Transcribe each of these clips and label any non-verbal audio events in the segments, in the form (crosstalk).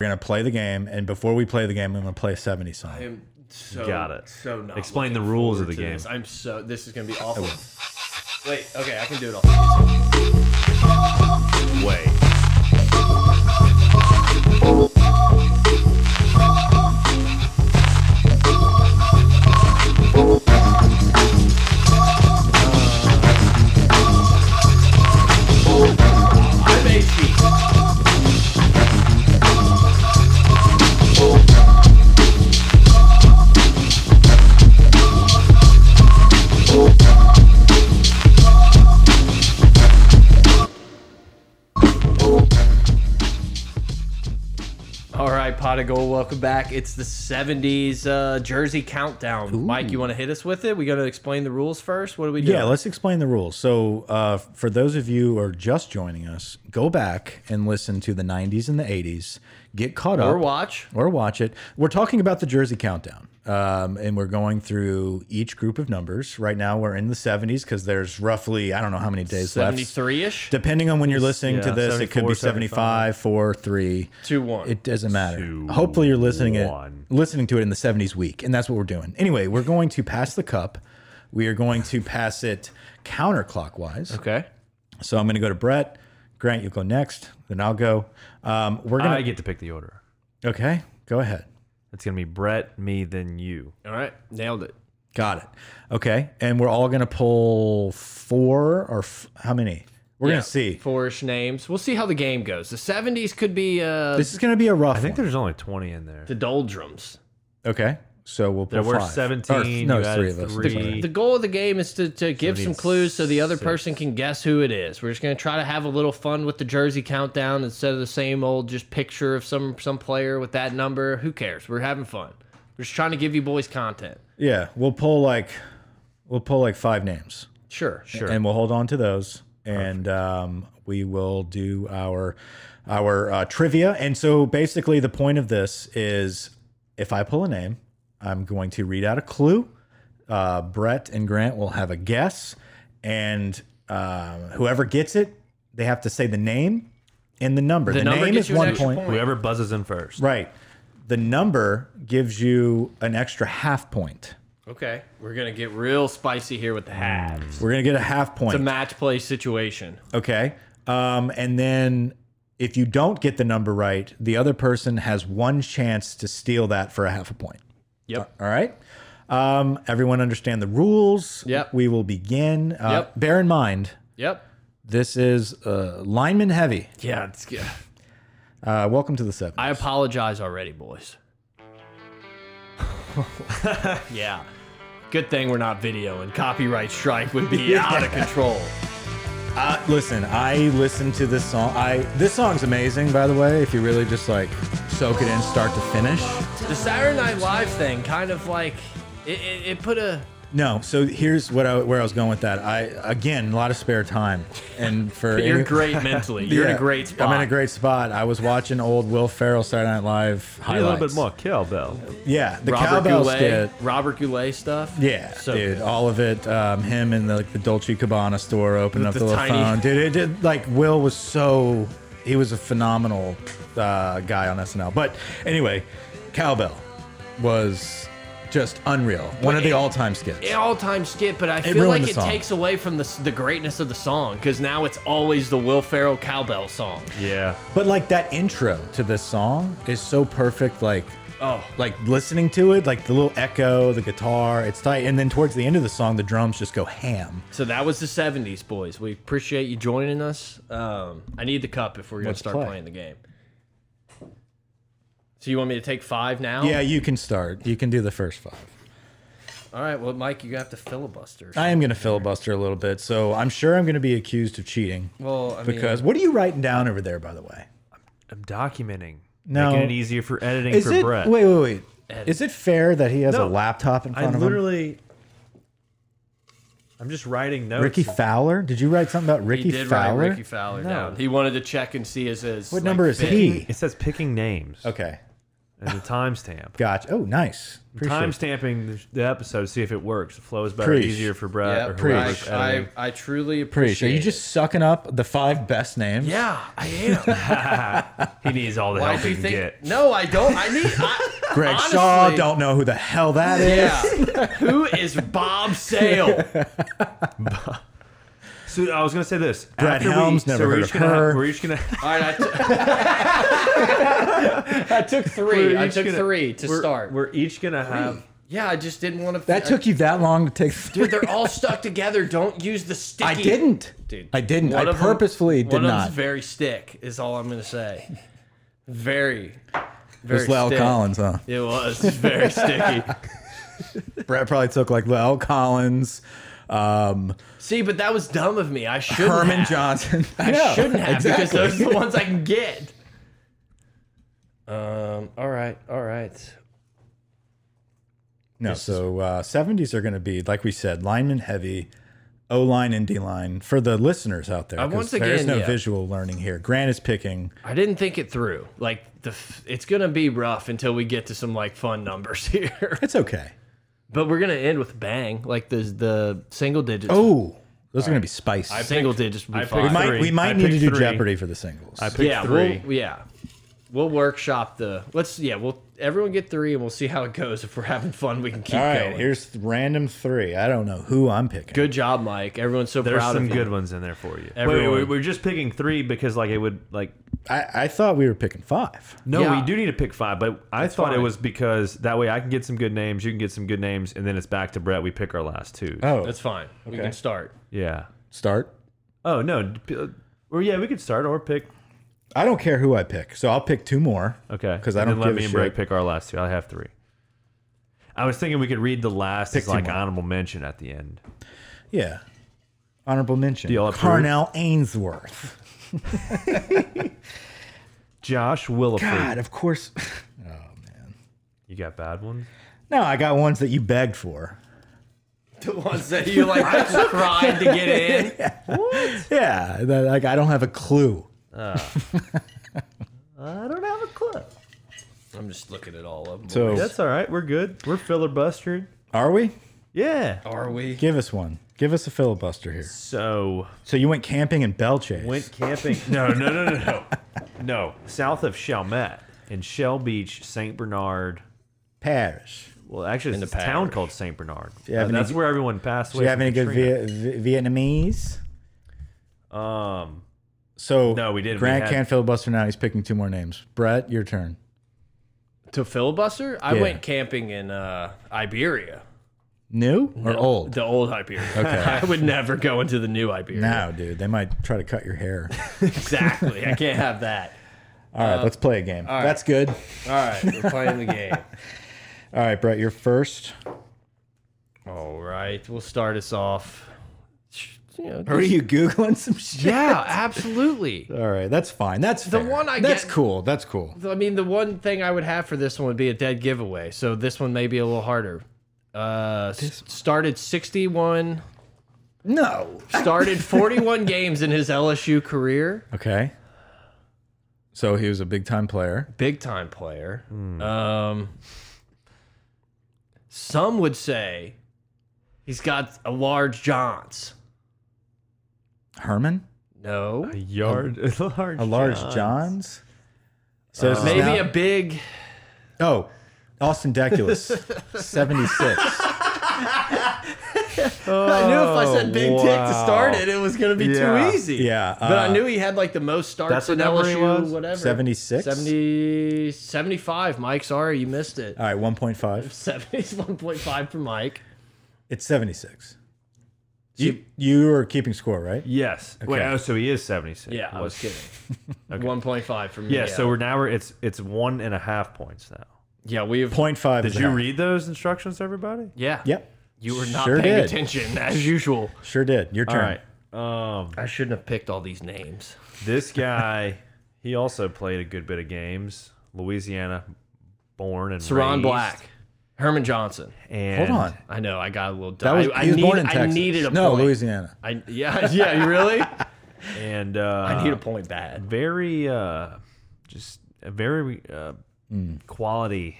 We're gonna play the game, and before we play the game, I'm gonna play a 70 song. I am so Got it. So not Explain the looking rules of forward the to game. This. I'm so. This is gonna be awful. Wait. Okay, I can do it all. Wait. (laughs) I'm HP. All right, Pot of Gold, welcome back. It's the 70s uh, Jersey Countdown. Mike, you want to hit us with it? We got to explain the rules first? What do we do? Yeah, let's explain the rules. So, uh, for those of you who are just joining us, go back and listen to the 90s and the 80s. Get caught up. Or watch. Or watch it. We're talking about the Jersey Countdown. Um, and we're going through each group of numbers. Right now, we're in the 70s because there's roughly, I don't know how many days left. 73 ish? Depending on when you're listening to yeah, this, it could be 74, 75, 4, 3. 2 1. It doesn't matter. Two, Hopefully, you're listening it, one. listening to it in the '70s week, and that's what we're doing. Anyway, we're going to pass the cup. We are going to pass it counterclockwise. okay. So I'm going to go to Brett. Grant, you go next. Then I'll go. Um, we're I gonna. get to pick the order. okay, go ahead. It's gonna be Brett, me, then you. All right. Nailed it. Got it. Okay, and we're all going to pull four or f how many? We're Yeah, going to see. Four-ish names. We'll see how the game goes. The 70s could be uh, This is going to be a rough. I think one. there's only twenty in there. the doldrums. Okay, so we'll pull There were five. Or, 17, no, you it's added three of us. three. Sorry. The goal of the game is to, to give some 76. clues so the other person can guess who it is. We're just going to try to have a little fun with the jersey countdown instead of the same old just picture of some, some player with that number. Who cares? We're having fun. We're just trying to give you boys content. Yeah, we'll pull like, we'll pull like five names. Sure. Sure. and we'll hold on to those and um, we will do our our uh, trivia and so basically the point of this is if i pull a name i'm going to read out a clue uh, brett and grant will have a guess and um, whoever gets it they have to say the name and the number the, number name gets is you an one extra point point. Whoever buzzes in first. right the number gives you an extra half point Okay. We're going to get real spicy here with the halves. we're going to get a half point It's a match play situation. Okay. Um, and then if you don't get the number right, the other person has one chance to steal that for a half a point. Yep. All right. Um, everyone understand the rules. Yep. We will begin. Uh, Yep. Bear in mind, Yep. this is uh, lineman heavy. Yeah. It's good. Uh, welcome to the seven. I apologize already, (laughs) boys. yeah. Good thing we're not video and copyright strike would be (laughs) out of control. Uh, listen, I listened to this song. I this song's amazing, by the way. If you really just like soak it in, start to finish. The Saturday Night Live thing kind of like it, it, it put a No, so here's what I, where I was going with that. I again, a lot of spare time, and for (laughs) you're any- (laughs) great mentally. You're in Yeah, a great spot. I'm in a great spot. I was watching old Will Ferrell Saturday Night Live Need a highlights. little bit more cowbell. Yeah, the Robert cowbell Goulet, skit. Robert Goulet stuff. Yeah, So dude, good. all of it. Um, him and the, like, the Dolce Cabana store opening up the the, little tiny- phone. Dude, it did like Will was so he was a phenomenal uh, guy on SNL. But anyway, cowbell was just unreal. One of the all-time skits. An all-time skit, but I feel ruined like the it song. takes away from the, s- the greatness of the song because now it's always the Will Ferrell cowbell song. Yeah. But like that intro to this song is so perfect. Like, Oh. like listening to it, like the little echo, the guitar, it's tight. And then towards the end of the song, the drums just go ham. So that was the 70s, boys. We appreciate you joining us. Um, I need the cup if we're going to Let's start play. playing the game. So you want me to take five now? Yeah, you can start. You can do the first five. All right. Well, Mike, you have to filibuster. I am gonna filibuster a little bit, so I'm sure I'm gonna be accused of cheating. Well, I mean- because what are you writing down over there, by the way? I'm documenting. No. Making it easier for editing Is for it? Brett. Wait, wait, wait. Is it fair that he has No, a laptop in I front of him? literally I'm just writing notes. Ricky Fowler? Did you write something about he Ricky did Fowler? write Ricky Fowler down. He wanted to check and see his. his what number is he? It says picking names. Okay. and the timestamp. Gotcha. Oh, nice. Appreciate it. Timestamping the, the episode to see if it works. The flow is better, Preach. easier for Brett. Yeah, or Preach. whoever's I, I, editing. I truly Preach. appreciate. Are you it. just sucking up the five best names? Yeah, I am. (laughs) he needs all the Why help do he you can think? get. No, I don't. I need. I, (laughs) Greg honestly, Shaw. Don't know who the hell that is. Yeah. Who is Bob (laughs) Sale? So I was gonna say this. Brett After we- Helms, never so we're heard each of gonna, her. We're each gonna. All right, I (laughs) t- I took three. we're I each took gonna- three to we're- start. We're each gonna have. yeah, I just didn't want to. That took you that long to take. Dude, (laughs) they're all stuck together. Don't use the sticky. (laughs) I didn't. Dude, I didn't. one I of 'em- purposefully one did Of not. them's very stick is all I'm gonna say. Very, very. It's Lel stick. Collins, huh? It was very sticky. (laughs) Brett probably took like Lel Collins, um, See, but that was dumb of me. I shouldn't Herman have. Johnson. (laughs) I know, shouldn't have because exactly. those are the (laughs) ones I can get. Um. All right. All right. No, so uh, 70s are going to be, like we said, lineman heavy, O line and D line for the listeners out there. 'cause Uh, once there is again, no yeah. visual learning here. Grant is picking. I didn't think it through. Like the, f- it's gonna be rough until we get to some like fun numbers (laughs) here. It's okay. but we're gonna end with bang, like the the single digits. Oh, those are going to be spiced. single digits would be I fine. we might, we three. I might need to picked do three. Jeopardy for the singles. I picked yeah, 3 we'll yeah, we'll workshop the. Let's yeah, we'll everyone get three and we'll see how it goes. If we're having fun, we can keep All right, going. here's th- random three. I don't know who I'm picking. Good job, Mike. Everyone's so There's proud some of you. good ones in there for you. Wait, wait, Everyone. wait, we're just picking three because like it would like I, I thought we were picking five. no, Yeah. we do need to pick five, but I thought it fine. was because that way I can get some good names, you can get some good names, and then it's back to Brett. We pick our last two. Oh, That's fine. We can start. Yeah. start. Oh no. d- uh, Or yeah, we could start or pick. I don't care who I pick, so I'll pick two more. Okay. 'Cause I And don't then let give a me and shit. Brett pick our last two. I have three. I was thinking we could read the last Pick as two like more. honorable mention at the end. Yeah. Honorable mention. Do y'all approve? Carnell Ainsworth. Josh Williford. God, of course. (laughs) You got bad ones? No, I got ones that you begged for. The ones that you like (laughs) tried to get in. Yeah, that, like I don't have a clue. I don't have a clue. I'm just looking at all of them. So That's all right. We're good. We're filibustering. are we? Yeah. are we? Give us one. Give us a filibuster here. So So you went camping in Belchase. went camping. No, no, no, no, (laughs) no. No. South of Chalmette in Shell Beach, St. Bernard. Parish. Well, actually, In it's a the town parish. called St. Bernard. you have Uh, any- that's where everyone passed Do away. you have from any good Katrina. Via- v- Vietnamese? Um, So No, we didn't. We Grant had- can't filibuster now. He's picking two more names. Brett, your turn. To filibuster? I Yeah. went camping in uh, Iberia, New or old? the old Iberia. Okay. (laughs) I would never go into the new Iberia. Now, dude, they might try to cut your hair. Exactly. I can't have that. All right, let's play a game. That's good. All (laughs) All right, we're playing the game. right, Brett, you're first. All right, we'll start us off. You know, Are you googling some (laughs) shit? yeah, absolutely. All right, that's fine. That's the one I That's get- cool. That's cool. I mean, the one thing I would have for this one would be a dead giveaway. So this one may be a little harder. Uh, s- started 61, No. started 41 (laughs) games in his LSU career. Okay. So he was a big time player. big time player. Hmm. Um, some would say he's got a large Johns. Herman, No, a yard, (laughs) a large, a large Johns. So this is maybe now- a big. oh, Austin Deculus, seventy six. I knew if I said Oh, big tick to start wow. it, it was going to be Yeah. too easy. Yeah, but I uh, knew he had like the most starts That's in what number he LSU. was? Whatever. 76? 70, 75, Mike. Sorry, you missed it. (laughs) Oh. All right, one point five. 71.5 for Mike. It's seventy six. You you are keeping score, right? Yes. Wait. Okay. Oh, so he is seventy six. Yeah, I was (laughs) kidding. 1.5 for me. Yeah, So we're now we're it's it's one and a half points now. yeah, we've. Point five. Did is you out. read those instructions, everybody? Yeah. Yep. You were not Sure paying did. attention as usual. Sure did. Your All turn. right. Um, I shouldn't have picked all these names. this guy, he also played a good bit of games. Louisiana, born and Saron raised. Black, Herman Johnson. And Hold on. I know I got a little. That was I, I he was need- born in I Texas. needed a no, point. Louisiana. I, yeah, (laughs) yeah. You really? And uh, I need a point bad. very uh, just a very uh, Quality,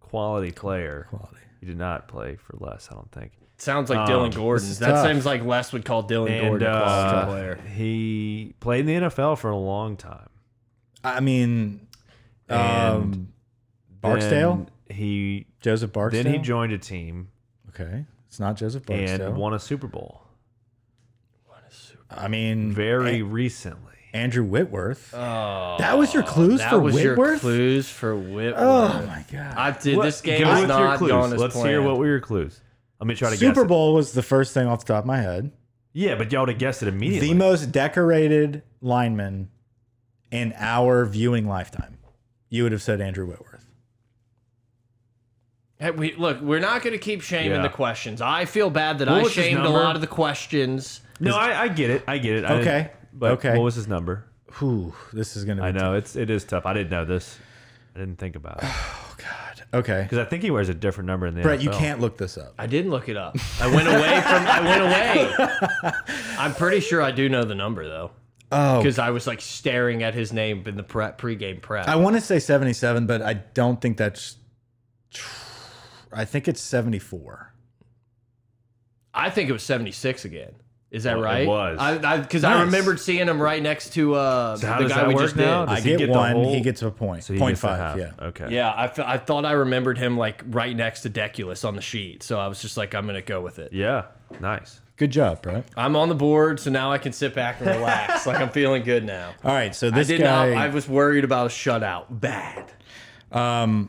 quality player. Quality. He did not play for less, I don't think. Sounds like Dylan Gordon. That tough. seems like Les would call Dylan And Gordon a quality uh, player. he played in the NFL for a long time. I mean, um, Barksdale, Then he Joseph Barksdale. then he joined a team Okay, it's not Joseph and Barksdale. won a Super Bowl I mean, very recently. Andrew Whitworth. Oh, that was your clues that for was your Whitworth? clues for Whitworth. oh my god! I did. This What- game give me is what's your not clues. going as Let's planned. hear what were your clues. I'm gonna try to guess. Super it. Bowl was the first thing off the top of my head. Yeah, but y'all would have guessed it immediately. The most decorated lineman in our viewing lifetime. You would have said Andrew Whitworth. Hey, we, look, we're not going to keep shaming Yeah. the questions. I feel bad that What I was his shamed a number? lot of the questions. no, I, I get it. I get it. I Okay, didn't- But okay. what was his number? Whew, this is gonna be I know it's it is tough. I didn't know this. I didn't think (sighs) about it God. Okay. because I think he wears a different number in the Brett, you NFL. can't look this up. I didn't look it up. I went away from. I went away. I'm pretty sure I do know the number though, Oh because I was like staring at his name in the prep pregame prep. I want to say 77, but I don't think that's I think it's 74. I think it was 76 again. Is that Well, it right? was. I because I, Nice. remembered seeing him right next to uh, So how the does guy that we work just now? did. I Does he get, get the one, whole- he gets a point. So he point gets the five, half. yeah. Okay. Yeah, I, f I thought I remembered him like right next to Deculus on the sheet, so I was just like, I'm gonna go with it. Yeah. Nice. Good job, Brett. I'm on the board, so now I can sit back and relax. like I'm feeling good now. All right, so I this did guy not. I was worried about a shutout. Bad. Can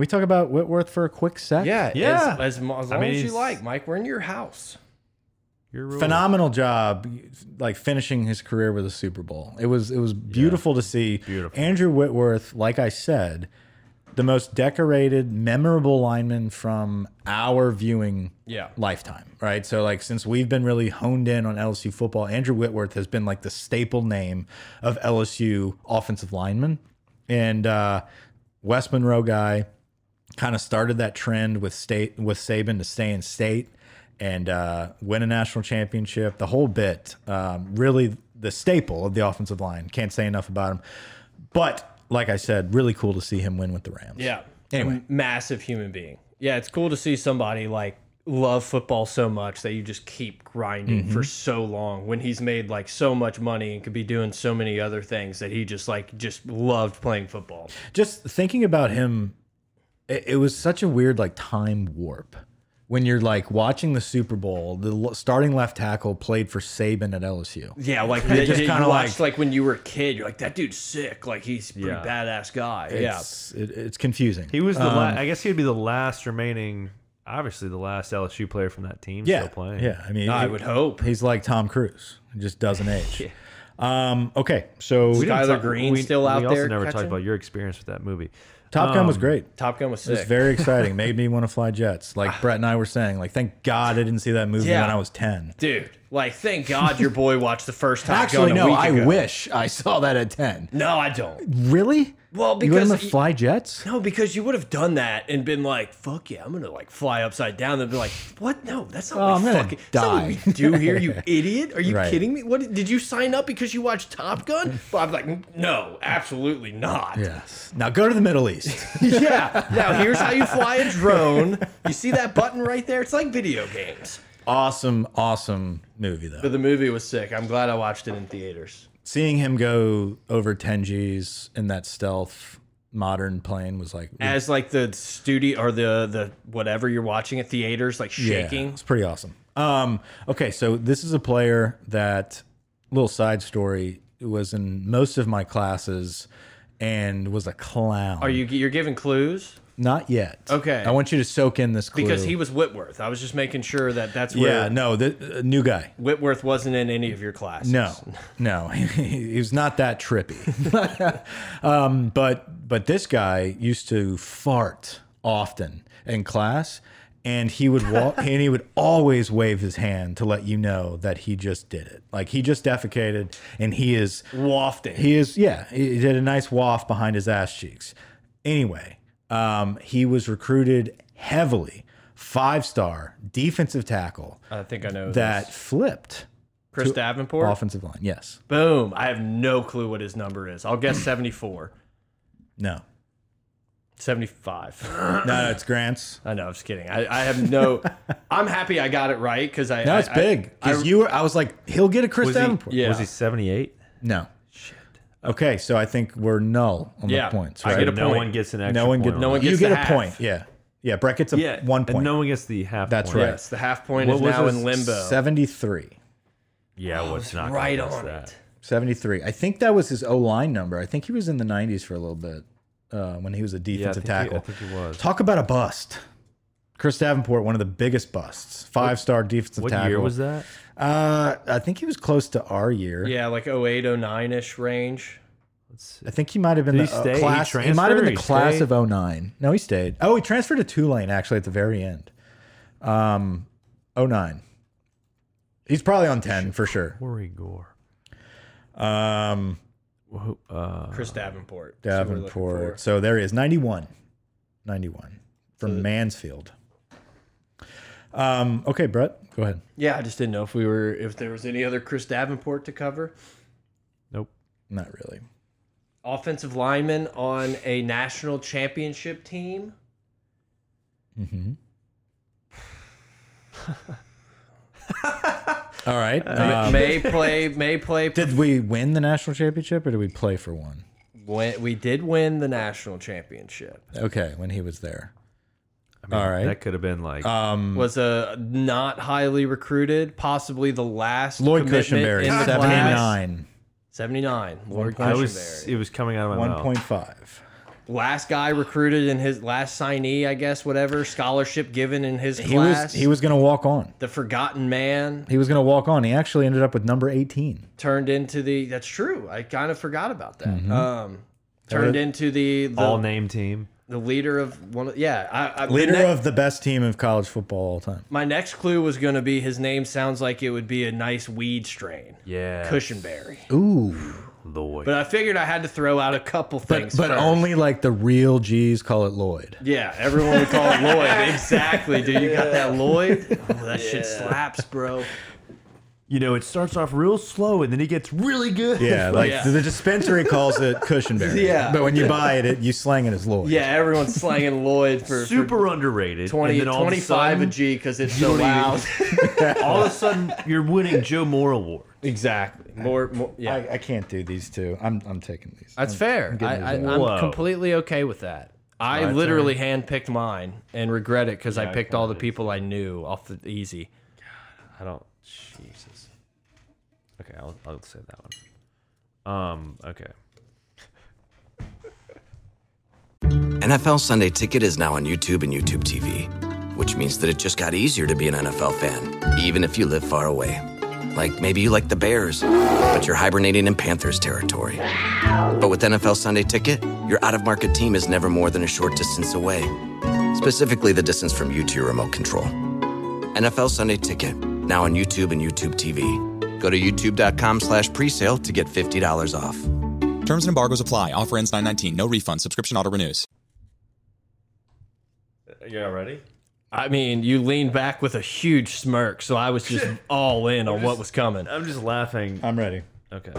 we talk about Whitworth for a quick sec? Yeah. As, as, mo- as long mean, as you he's- like, Mike. We're in your house. Your rule. phenomenal job like finishing his career with a Super Bowl. It was it was beautiful to see. Beautiful. Andrew Whitworth, like I said, the most decorated, memorable lineman from our viewing Yeah. lifetime, right? So like since we've been really honed in on LSU football, Andrew Whitworth has been like the staple name of LSU offensive lineman. And uh West Monroe guy, kind of started that trend with state with Saban to stay in state and uh, win a national championship. The whole bit, um, really the staple of the offensive line. Can't say enough about him. But like I said, really cool to see him win with the Rams. Yeah. Anyway. M- massive human being. Yeah, it's cool to see somebody like love football so much that you just keep grinding Mm-hmm. for so long when he's made like so much money and could be doing so many other things that he just like just loved playing football. Just thinking about him, it, it was such a weird like time warp. When you're like watching the Super Bowl, the l- starting left tackle played for Saban at LSU. Yeah, like just you kinda watched like when you were a kid, you're like that dude's sick, like he's a pretty badass guy. yeah. It's, it, it's confusing. He was the. la- I guess he'd be the last remaining. Obviously, the last LSU player from that team yeah, still playing. yeah. I mean, I it- would hope. He's like Tom Cruise. He just (laughs) doesn't age. Um, okay, so We didn't Skylar talk- Green's we- still out We also there never catching? talked about your experience with that movie. Top Gun was great. Top Gun was It was (laughs) sick. very exciting. Made me want to fly jets. Like Brett and I were saying, like thank God I didn't see that movie Yeah. when I was ten. Dude, like thank God your boy watched the first Top Actually, Gun a no, week I ago. wish I saw that at ten. No, I don't. Really? Well, you wouldn't because have y- fly jets. No, because you would have done that and been like, "Fuck yeah, I'm gonna like fly upside down." They'd be like, "What? No, that's not Oh, what I'm we gonna fucking that's not what we die." do here, (laughs) you idiot. Are you Right. kidding me? What did you sign up because you watched (laughs) Top Gun?" But I'm like, "No, absolutely not." Yes. Now go to the Middle East. (laughs) (laughs) yeah. Now here's how you fly a drone. You see that button right there? It's like video games. awesome, awesome movie though. But the movie was sick. I'm glad I watched it in theaters. Seeing him go over ten G's in that stealth modern plane was like As like the studio or the the whatever you're watching at theaters, like shaking. it's pretty awesome. Um, okay, so this is a player that little side story was in most of my classes and was a clown. Are you you're giving clues? not yet? Okay. I want you to soak in this clue. Because he was Whitworth. I was just making sure that that's where yeah, no, the uh, new guy. Whitworth wasn't in any of your classes. No, no, (laughs) he was not that trippy. um, but but this guy used to fart often in class, and he would walk, and he would always wave his hand to let you know that he just did it. Like he just defecated, and he is Wafting. he is yeah he did a nice waft behind his ass cheeks. Anyway, um, he was recruited heavily, five star defensive tackle I think I know that. that flipped Chris Davenport. offensive line. Yes. (clears throat) Boom. I have no clue what his number is. I'll guess 74. No. 75. No, no, it's Grant's. (laughs) I know, I'm just kidding. I, I have (laughs) no. I'm happy I got it right because I. No, I- it's I- big. Because you were, I was like, he'll get a Chris Was he, Davenport. Yeah. was he 78? No. Shit. Okay, so I think we're null on Yeah. the points, I right? get a no point. one gets an extra no one point get, No one you gets get the a half. point. Yeah. Yeah, Brett gets a yeah, one and point. no one gets the half That's point. right. Yes, the half point What is was now this? in limbo. 73. Yeah, I was not gonna right guess on that. it. 73. I think that was his O line number. I think he was in the 90s for a little bit uh, when he was a Yeah, I defensive think, He, I tackle. think he was. Talk about a bust. Chris Davenport, one of the biggest busts. Five star defensive What tackle. year was that? Uh, I think he was close to our year. Yeah, like 08, 09 ish range. I think he might have been Did the he uh, stay? He class. He, might have been transferred? the He class stayed? of 09. No, he stayed. Oh, he transferred to Tulane actually at the very end. Um, 09. He's probably on 10 for sure. Corey Gore. Um, Who- Uh, Chris Davenport. is who we're looking Davenport. So there he is. 91. 91 from Mansfield. Um, okay, Brett, go ahead. for. Yeah, I just didn't know if we were if there was any other Chris Davenport to cover. nope. Not really. Offensive lineman on a national championship team. All right. Uh, may play. May play. did we win the national championship or did we play for one? Win- we did win the national championship. Okay, when he was there. I mean, All right. That could have been like Mm. Was a not highly recruited, possibly the last Lloyd commitment Cushenberry, in the class. 79. 79. Lloyd I was. Cushenberry. It was coming out of my One mouth. point five. Last guy recruited in his last signee, I guess, whatever scholarship given in his He was class. he was gonna walk on. the forgotten man He was gonna walk on. He actually ended up with number eighteen. turned into the. That's true. I kind of forgot about that. Mm-hmm. Um, turned into the the, All name team. the leader of one. Of, yeah, I, I, Leader ne- of the best team of college football all time. My next clue was going to be his name sounds like it would be a nice weed strain. Yeah. Cushionberry. Ooh. Lloyd. But I figured I had to throw out a couple things. But first. only like the real G's call it Lloyd. Yeah, everyone would call it (laughs) Lloyd. Exactly, dude. You got that Lloyd? Oh, that shit slaps, bro. you know, it starts off real slow and then he gets really good. (laughs) Yeah, (laughs) like Yeah. the dispensary calls it Cushionberry. Yeah. But when you buy it, it you slang it as Lloyd. Yeah, everyone's slanging Lloyd for, for Super underrated. 20, and then all 25 of a a sudden, G because it's so loud. (laughs) all of a sudden you're winning Joe Moore Award. exactly. More, more yeah. I, I can't do these two. I'm I'm taking these. That's fair. I, I, getting I'm Whoa. completely okay with that. I literally handpicked mine and regret it because I picked all the people I knew off the easy. I don't. Jesus. Okay, I'll I'll say that one. Um. Okay. NFL Sunday Ticket is now on YouTube and YouTube TV, which means that it just got easier to be an NFL fan, even if you live far away. Like maybe you like the Bears, but you're hibernating in Panthers territory. But with NFL Sunday Ticket, your out of market team is never more than a short distance away, specifically the distance from you to your remote control. NFL Sunday Ticket, now on YouTube and YouTube TV. Go to youtube.com slash presale to get $50 off. Terms and embargoes apply. Offer ends 919. No refund. Subscription auto renews. Yeah. Ready? I mean, you leaned back with a huge smirk, so I was (laughs) just all in on what was coming. I'm just laughing. I'm ready. Okay.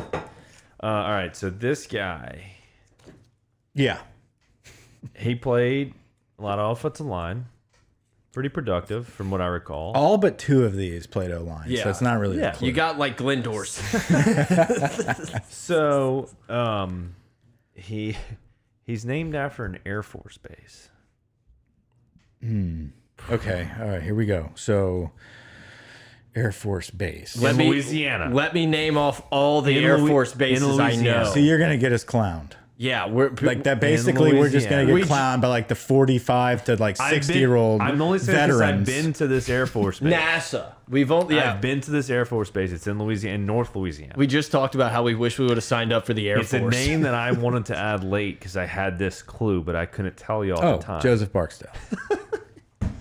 Uh, all right. So this guy, Yeah. he played a lot of offensive line. Pretty productive, from what I recall. All but two of these played O line. Yeah. So it's not really Yeah. a clue. You got like Glendor's. So, um, he (laughs) he's named after an Air Force base. Okay. All right. Here we go. So, Air Force Base. Let me, Louisiana. Let me name off all the In Air Louis- Force in bases I Louisiana. know. So you're gonna get us clowned. yeah, we're Like that. Basically, we're just gonna get Louisiana. We- clowned by like the 45 to like 60 year old I'm only saying this 'cause veterans. I've been to this Air (laughs) Force base. NASA. We've only yeah. I've been to this Air Force base. It's in Louisiana, in North Louisiana. we just talked about how we wish we would have signed up for the Air it's Force. a name that I wanted to add late because I had this clue, but I couldn't tell you all oh, the time. Joseph Barksdale. (laughs)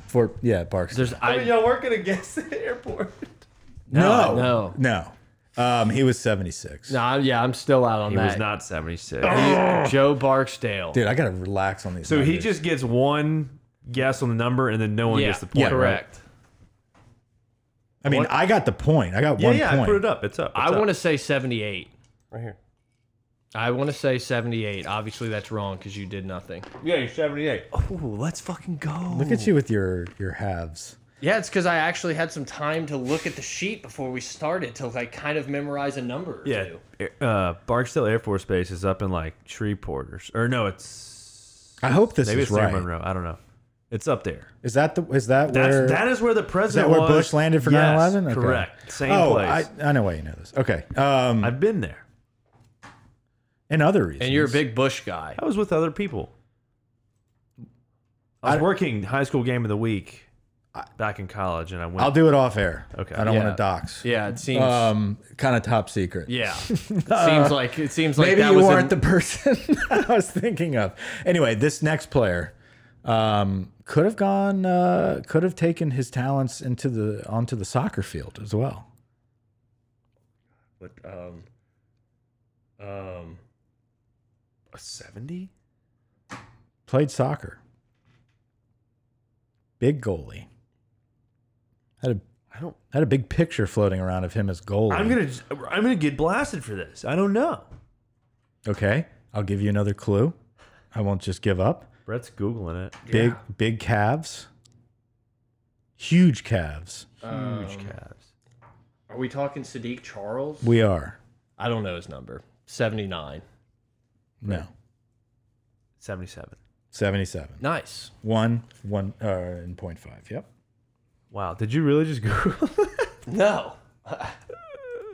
For yeah, Barksdale. There's I, y'all weren't gonna guess the airport. no, no. Oh, no. Um, he was 76. no, I'm- yeah, I'm still out on He that. was not 76. Joe Barksdale. Dude, I gotta relax on these. so he numbers. just gets one guess on the number, and then no one yeah, gets the point. right? correct. I mean, I got the point. I got one Yeah, yeah. point. I put it up. It's up. I want to say 78. right here. I want to say 78. Obviously, that's wrong because you did nothing. Yeah, you're 78. Ooh, let's fucking go. Look at you with your your halves. Yeah, it's because I actually had some time to look at the sheet before we started to like kind of memorize a number. Or Yeah. two. Uh, Barksdale Air Force Base is up in like Shreveport or, s- or no, it's I hope this maybe is it's near right. Monroe. I don't know. It's up there. Is that the is that That's where that is where the president where was. Bush landed for Yes, 9/11? Okay. Correct. Same Oh, place. I, I know why you know this. Okay. Um, I, have been there. and other reasons. And you're a big Bush guy. I was with other people. I was working high school game of the week back in college, and I went. I'll do it off air. Okay. I don't Yeah. want to dox. Yeah, it seems. Uh, Um, kind of top secret. (laughs) yeah, it seems like it seems like Maybe that you was aren't an- the person (laughs) I was thinking of. Anyway, this next player um, could have gone, uh, could have taken his talents into the onto the soccer field as well. But, um, um, a seventy. Played soccer. Big goalie. Had a I don't. had a big picture floating around of him as goalie. I'm gonna. just- I'm gonna get blasted for this. I don't know. okay. I'll give you another clue. I won't just give up. Brett's googling it. Big big calves. Huge calves. Um, Huge calves. are we talking Sadiq Charles? We are. I don't know his number. 79. No. Seventy-seven. 77. Nice. One, one, uh, and point five. Yep. Wow. Did you really just Google? (laughs) No.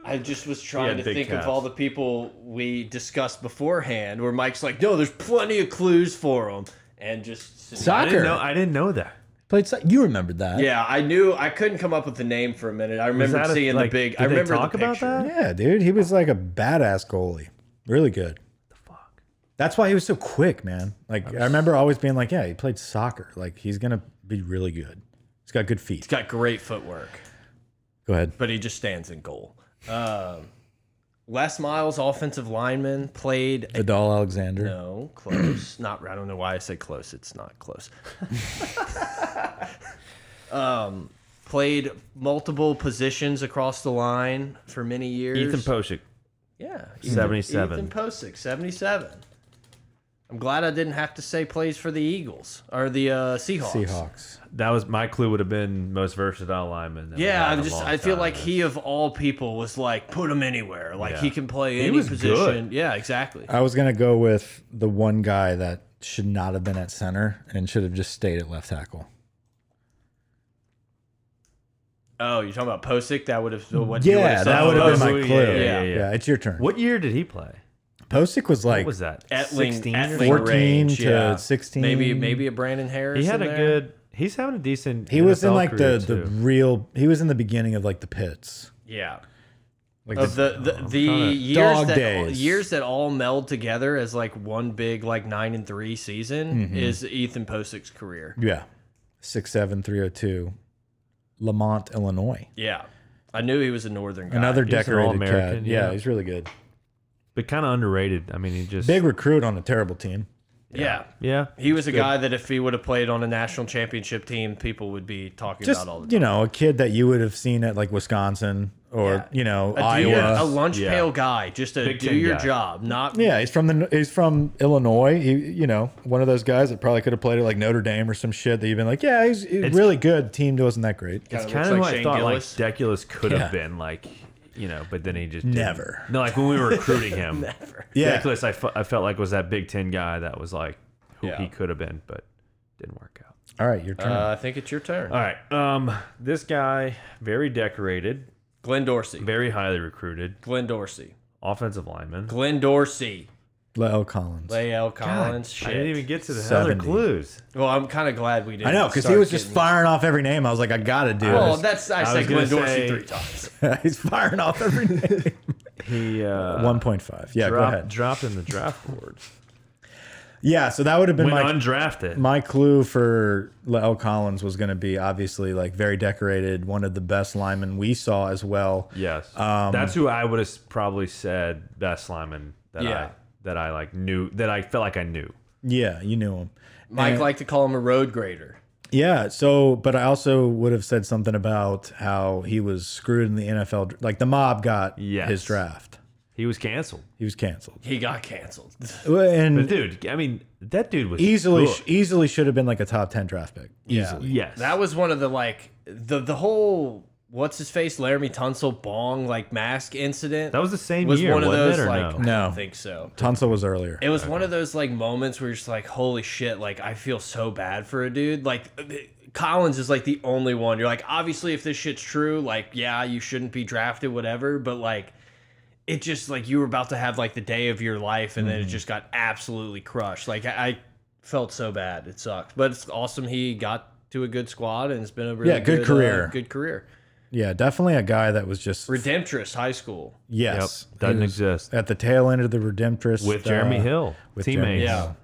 I just was Yeah, trying to big think calves. of all the people we discussed beforehand where Mike's like, no, there's plenty of clues for them. And just. I didn't Soccer. know. I didn't know that. Played so you remembered that. Yeah, I knew. I couldn't come up with the name for a minute. I remember that a- seeing like, the big. did I they remember talk the about picture. that? Yeah, dude. He was like a badass goalie. Really good. Fuck. That's why he was so quick, man. Like, I remember always being like, yeah, he played soccer. Like, he's going to be really good. He's got good feet. He's got great footwork, Go ahead. but he just stands in goal. Um, Les Miles, offensive lineman, played Adal Alexander. No, close. (clears throat) not. I don't know why I said close. It's not close. (laughs) um, played multiple positions across the line for many years. Ethan Posick. yeah, 77. Ethan Posick, seventy-seven. I'm glad I didn't have to say plays for the Eagles or the uh, Seahawks. Seahawks. That was my clue. Would have been most versatile lineman. that we Yeah, had in I'm a just. long I feel time. like he of all people was like, put him anywhere. Like Yeah. he can play He any was position. good. Yeah, exactly. I was going to go with the one guy that should not have been at center and should have just stayed at left tackle. Oh, you're talking about Posick? That would have. What you would've Yeah, said. that would have been my Oh, yeah, clue. Yeah, yeah, yeah. it's your turn. What year did he play? Posick was like What was that? Etling, 16 or Etling something? 14 range, to yeah. 16. Maybe maybe a Brandon Harris. He had a in there. good. He's having a decent. He was in NFL like the, career, the too. real. He was in the beginning of like the pits, yeah. like Of the, the the, the kinda- years Dog that days. years that all meld together as like one big like nine and three season Mm-hmm. is Ethan Posick's career. yeah, six seven three zero two, Lamont, Illinois. Yeah, I knew he was a Northern guy. Another He's an decorated All-American, cat. Yeah. yeah. he's really good. but kind of underrated. I mean, he just Big recruit on a terrible team. yeah. Yeah, He was a guy that if he would have played on a national championship team, people would be talking Just about all the time. you know, a kid that you would have seen at like Wisconsin or you know A, dude- a Iowa. lunch Yeah. pail guy, just a Big do Ten your guy. job, not Yeah, he's from the he's from Illinois. He you know one of those guys that probably could have played at like Notre Dame or some shit. That you've been like, yeah, he's, he's really good. Team wasn't that great. it's Kinda kind looks of like what I Shane thought. Gillis. Like Deculus could Yeah. have been like, you know, but then he just didn't. Never. No, like when we were recruiting (laughs) him, Never. Yeah. Deculus, I, fe- I felt like was that Big Ten guy that was like who he could have been, but didn't work out. All right, your turn. Uh, I think it's your turn, All right, um, this guy very decorated, Glenn Dorsey. very highly recruited, Glenn Dorsey. offensive lineman. Glenn Dorsey. Lyle Collins. L. Collins. I shit. didn't even get to the other 70. clues. Well, I'm kind of glad we didn't. I know, because he start was just getting- firing off every name. I was like, I gotta do Oh, it. that's I, was said gonna Glenn Dorsey say- three times. (laughs) He's firing off (laughs) every name. He uh, One point five. Yeah, go dropped, ahead. dropped in the draft board. Yeah, so that would have (laughs) been Went my undrafted. my clue for L. Collins was going to be obviously like very decorated, one of the best linemen we saw as well. Yes, um, that's who I would have probably said best lineman that I Yeah. that I like knew that I felt like I knew. Yeah, you knew him. Mike liked to call him a road grader. Yeah, so but I also would have said something about how he was screwed in the NFL. dr- Like the mob got Yes. his draft. He was canceled. He was canceled. He got canceled. And Dude, I mean, that dude was easily good. easily should have been like a top 10 draft pick. Easily. Yes. That was one of the like the the whole what's his face Laramie Tunsil bong like mask incident. That was the same was year, one of wasn't it, those or like no? I No. don't think so. Tunsil was earlier. It was one of those like moments where you're just like, holy shit, like I feel so bad for a dude. Like uh, Collins is like the only one. You're like, obviously, if this shit's true, like, yeah, you shouldn't be drafted, whatever. But like, it just like you were about to have like the day of your life, and Mm-hmm. then it just got absolutely crushed. Like I, I felt so bad. It sucked, but it's awesome. He got to a good squad, and it's been a really Yeah, good uh, career. good career. Yeah, definitely a guy that was just Redemptress High School. yes. Yep. Doesn't He was exist. At the tail end of the Redemptress With uh, Jeremy Hill, with Jeremy teammates. Hill.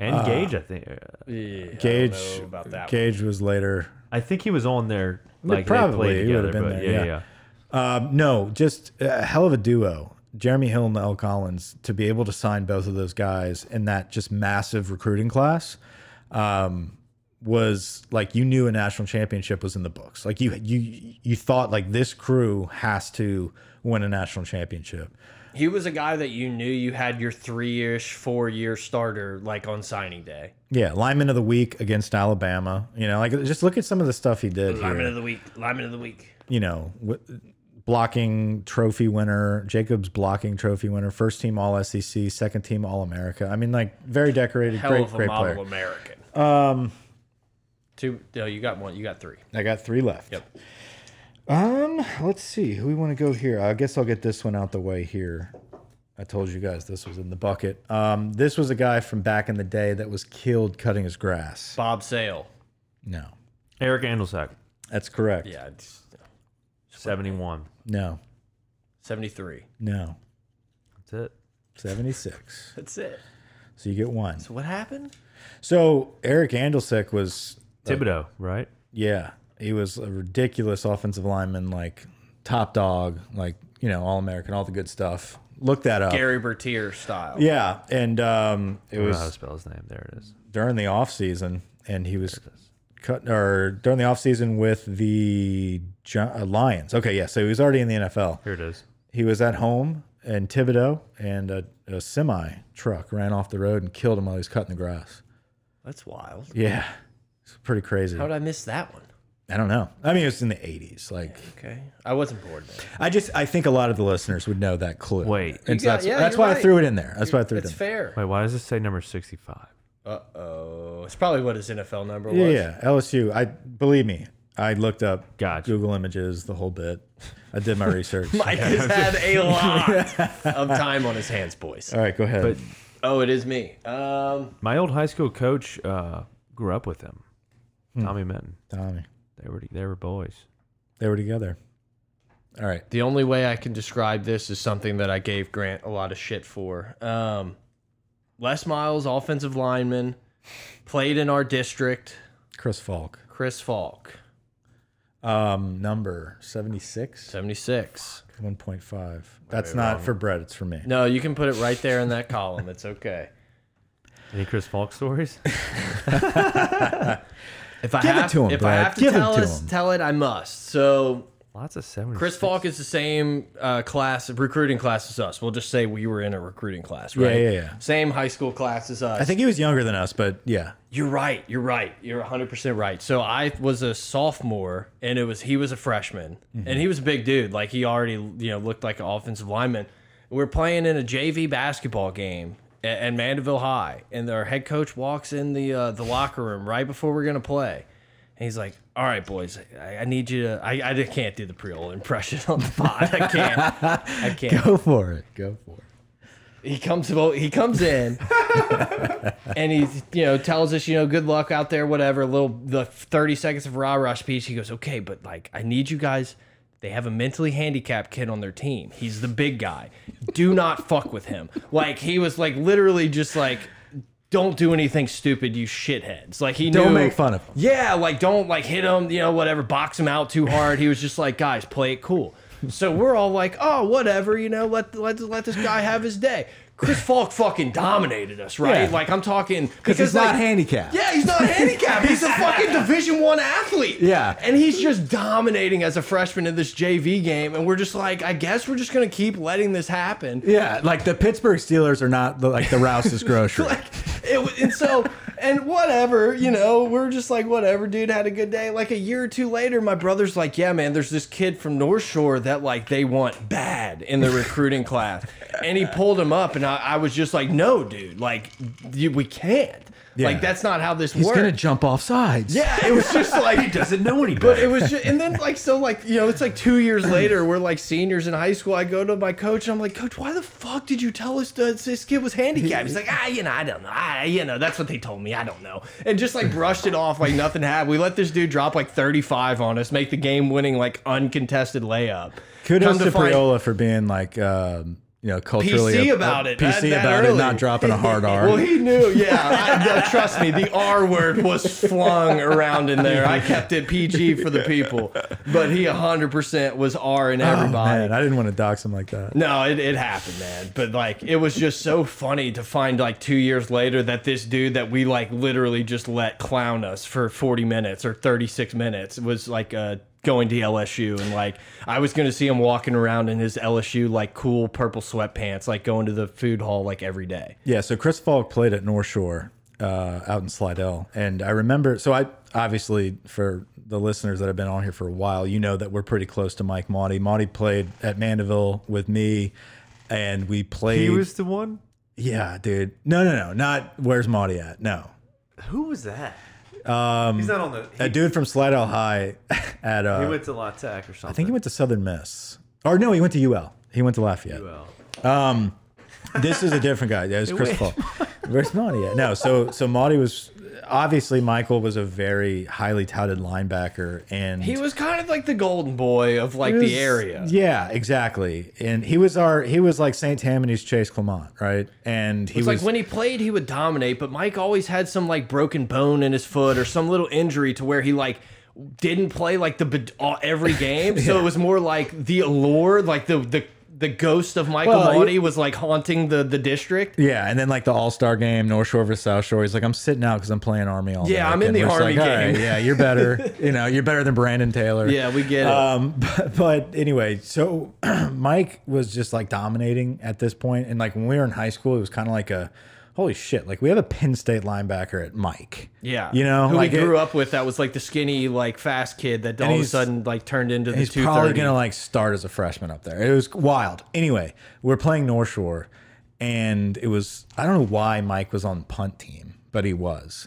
And Gage, I think. Yeah, Gage know about that one. Gage was later. I think he was on there. Like, they probably, played he would've together, been but there, yeah, yeah. yeah. Um, no, just a hell of a duo. Jeremy Hill and L. Collins to be able to sign both of those guys in that just massive recruiting class um, was like you knew a national championship was in the books. Like you you you thought like this crew has to win a national championship. He was a guy that you knew you had your three ish, four year starter like on signing day. Yeah, lineman of the week against Alabama. You know, like just look at some of the stuff he did Lineman here. of the week. Lineman of the week. you know, w- blocking trophy winner, Jacobs blocking trophy winner, first team All SEC, second team All America. I mean, like very decorated, Hell great, of a great model player. American. Um, two. No, you got one. You got three. I got three left. Yep. Um, let's see who we want to go here. I guess I'll get this one out the way here. I told you guys this was in the bucket. Um, this was a guy from back in the day that was killed cutting his grass. Bob Sale. No, Eric Andelsack, that's correct. Yeah, it's 71. No, seventy three. no, That's it. seventy six. That's it. So you get one. What happened? So Eric Andelsick was Thibodeau, right? Yeah, he was a ridiculous offensive lineman, like top dog, like you know, all American, all the good stuff. Look that up. Gary Bertier style. Yeah, and um, it I don't know how to was spell his name. There it is. during the off season, and he was cut or during the off season with the Gi- uh, Lions. Okay, yeah, so he was already in the NFL. Here it is. He was at home in Thibodeau, and a, a semi truck ran off the road and killed him while he was cutting the grass. That's wild. Yeah, it's pretty crazy. How did I miss that one? I don't know. I mean, it was in the '80s, like. Okay, I wasn't bored. Then. I just I think a lot of the listeners would know that clue. Wait. and so got- that's, yeah, that's you're why I right. threw it in there. That's why I threw it in. It's fair. Wait, why does this say number 65? Uh oh, it's probably what his NFL number was. there. Yeah, yeah, LSU. I believe me. I looked up Gotcha. Google images the whole bit. I did my research. Mike has (laughs) had a lot of time on his hands, boys. All right, go ahead. But Oh, it is me. Um, my old high school coach uh, grew up with him, Tommy Minton. Tommy, They were, they were boys. they were together. All right. the only way I can describe this is something that I gave Grant a lot of shit for. Um, Les Miles, offensive lineman, played in our district. Chris Falk. Chris Falk, Um, number 76, seventy six. 1.5. That's not for Brett, it's for me. No, you can put it right there in that column. It's okay. Any Chris Falk (laughs) stories? If I Give it have to him, if I Brad. have to Give it tell to us, him. tell it I must. So Lots of 70. Chris Falk is the same uh, class, recruiting class as us. We'll just say we were in a recruiting class, right? yeah, yeah. Same high school class as us. I think he was younger than us, but yeah. you're right. You're right. You're 100% right. So I was a sophomore and it was he was a freshman. And he was a big dude. Like he already, you know, looked like an offensive lineman. We're playing in a JV basketball game at, at Mandeville High and our head coach walks in the uh, the locker room right before we're going to play. And he's like, "All right, boys, I, I need you to. I, I can't do the Creole impression on the pod. I can't. I (laughs) can't Go for it. Go for it. he comes about he (laughs) comes in and he you know tells us you know good luck out there whatever a little the 30 seconds of rah rah speech he goes okay but like i need you guys they have a mentally handicapped kid on their team he's the big guy do not fuck with him like he was like literally just like don't do anything stupid you shitheads like he Don't knew- make fun of him. yeah, like don't like hit him, you know, whatever, box him out too hard. He was just like, guys, play it cool. So we're all like, oh, whatever, you know, let let let this guy have his day. Chris Falk fucking dominated us, right? Yeah. Like I'm talking because he's not like, handicapped. yeah, he's not handicapped. He's a fucking Division One athlete. Yeah. and he's just dominating as a freshman in this JV game, and we're just like, I guess we're just gonna keep letting this happen. Yeah, like the Pittsburgh Steelers are not the, like the Rouse's grocery. Like, (laughs) it, wa- and so, and whatever, you know, we're just like, whatever, dude, had a good day. Like a year or two later, my brother's like, yeah, man, there's this kid from North Shore that like they want bad in (laughs) the recruiting class. And he pulled him up, and I, I was just like, no, dude, like, you, we can't. Like, that's not how this he's works. gonna jump off sides. yeah, it (laughs) was just like, He doesn't know any but better. it was just, and then like so like you know it's like two years later we're like seniors in high school. I go to my coach and I'm like, Coach, why the fuck did you tell us that this kid was handicapped? He's like, Ah, you know, I don't know. I, you know, that's what they told me. I don't know. And just like brushed it off like nothing happened. We let this dude drop like 35 on us, make the game winning like uncontested layup. Kudos Come to, find- Priola for being like, um, you know, culturally PC ap- about it. PC that- that about it, early. not dropping a (laughs) hard R. Well, he knew, yeah. I, no, trust me, the R word was flung around in there. I kept it PG for the people, but he 100% was R in Oh, everybody. man, I didn't want to dox him like that. no, it, it happened, man. But like, it was just so funny to find like two years later that this dude that we like literally just let clown us for 40 minutes or 36 minutes was like uh, going to LSU. And like, I was going to see him walking around in his LSU like cool purple sweatpants, like going to the food hall like every day. Yeah, so Chris Falk played at North Shore uh, out in Slidell, and I remember. So I obviously, for the listeners that have been on here for a while, you know that we're pretty close to Mike Monty. Monty played at Mandeville with me, and we played. he was the one. yeah, dude. No, no, no, not where's Monty at? No, Who was that? Um, he's not on the. He, a dude from Slidell High (laughs) at. Uh, he went to La Tech or something. I think he went to Southern Miss, or no, he went to UL. He went to Lafayette. Well, this is a different guy. (laughs) Yeah, it's Chris Paul. Where's Monty at? No, so so Monty was obviously Michael was a very highly touted linebacker, and He was kind of like the golden boy of like the area. Yeah, exactly. And he was our he was like St. Tammany's Chase Clement, right? And he It's was like when he played, he would dominate, but Mike always had some like broken bone in his foot or some little injury to where he like didn't play like the bed- all- every game. (laughs) So it was more like the allure, like the the the ghost of Michael Well, well, you- was like haunting the the district. yeah, and then like the All Star game, North Shore versus South Shore. He's like, I'm sitting out because I'm playing Army all Yeah, night. I'm in And the we're just Army like, "All right, game." yeah, you're (laughs) better. you know, you're better than Brandon Taylor. Yeah, we get it. Um, (laughs) but, but anyway, so (clears throat) Mike was just like dominating at this point, and like when we were in high school, it was kind of like a holy shit, like we have a Penn State linebacker at Mike. yeah, you know, who like we it- grew up with. That was like the skinny, like fast kid that all of a he's- sudden like turned into the He's two probably thirty. gonna like start as a freshman up there. It was wild. Anyway, we're playing North Shore, and it was I don't know why Mike was on the punt team, but he was.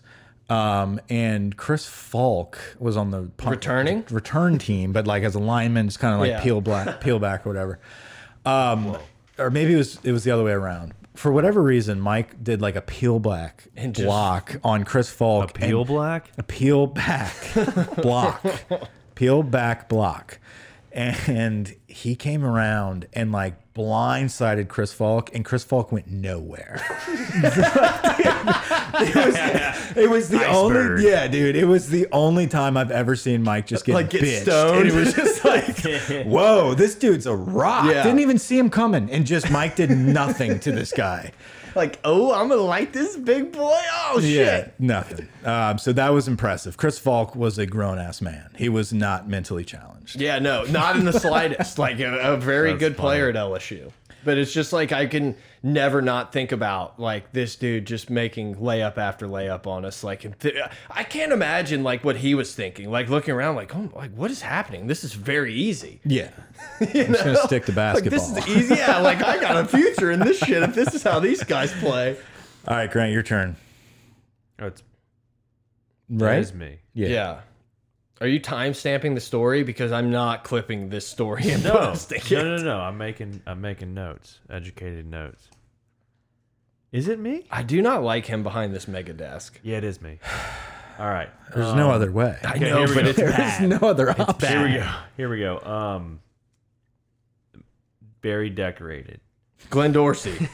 Um, and Chris Falk was on the punt, Returning? return team, but like as a lineman, just kind of like Yeah. peel (laughs) black, peel back or whatever. Um, or maybe it was it was the other way around. For whatever reason, Mike did like a peel back And just- block on Chris Falk. and- Peel Black. a peel back (laughs) block, peel back block. And he came around and like blindsided Chris Falk, and Chris Falk went nowhere. (laughs) it was the Iceberg. only, yeah, dude. It was the only time I've ever seen Mike just get Like, get bitched. stoned. And it was (laughs) just like, whoa, this dude's a rock. Yeah. Didn't even see him coming, and just Mike did nothing to this guy. Like, oh, I'm gonna light this big boy. Oh Yeah, shit. nothing. Um, so that was impressive. Chris Falk was a grown ass man. He was not mentally challenged. Yeah, no, not (laughs) in the slightest. like a, a very good player at LSU. But it's just like I can never not think about like this dude just making layup after layup on us. Like and th- I can't imagine like what he was thinking. Like looking around, like oh, like what is happening? This is very easy. Yeah, (laughs) I'm just gonna stick to Like basketball. this is easy. Yeah, like I (laughs) got a future in this shit if this is how these guys play. e- All right, Grant, your turn. Oh, it's Right? It's me. Yeah. Yeah. Are you time stamping the story because I'm not clipping this story and No, posting it? no, no, no. I'm making I'm making notes, educated notes. Is it me? I do not like him behind this mega desk. Yeah, it is me. All right. There's no other way. um, I (laughs) Okay, know, here we but go. it's There bad. There's no other option. Here we go. Here we go. Um, very decorated. Glenn Dorsey.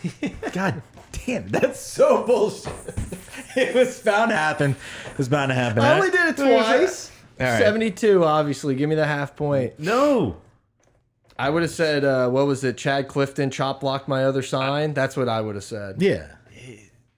God damn, that's so bullshit. (laughs) it was bound to happen. It was bound to happen. I only did it twice. All right. 72, obviously. Give me the half point. No. I would have said, uh, what was it? Chad Clifton chop blocked my other sign. That's what I would have said. Yeah.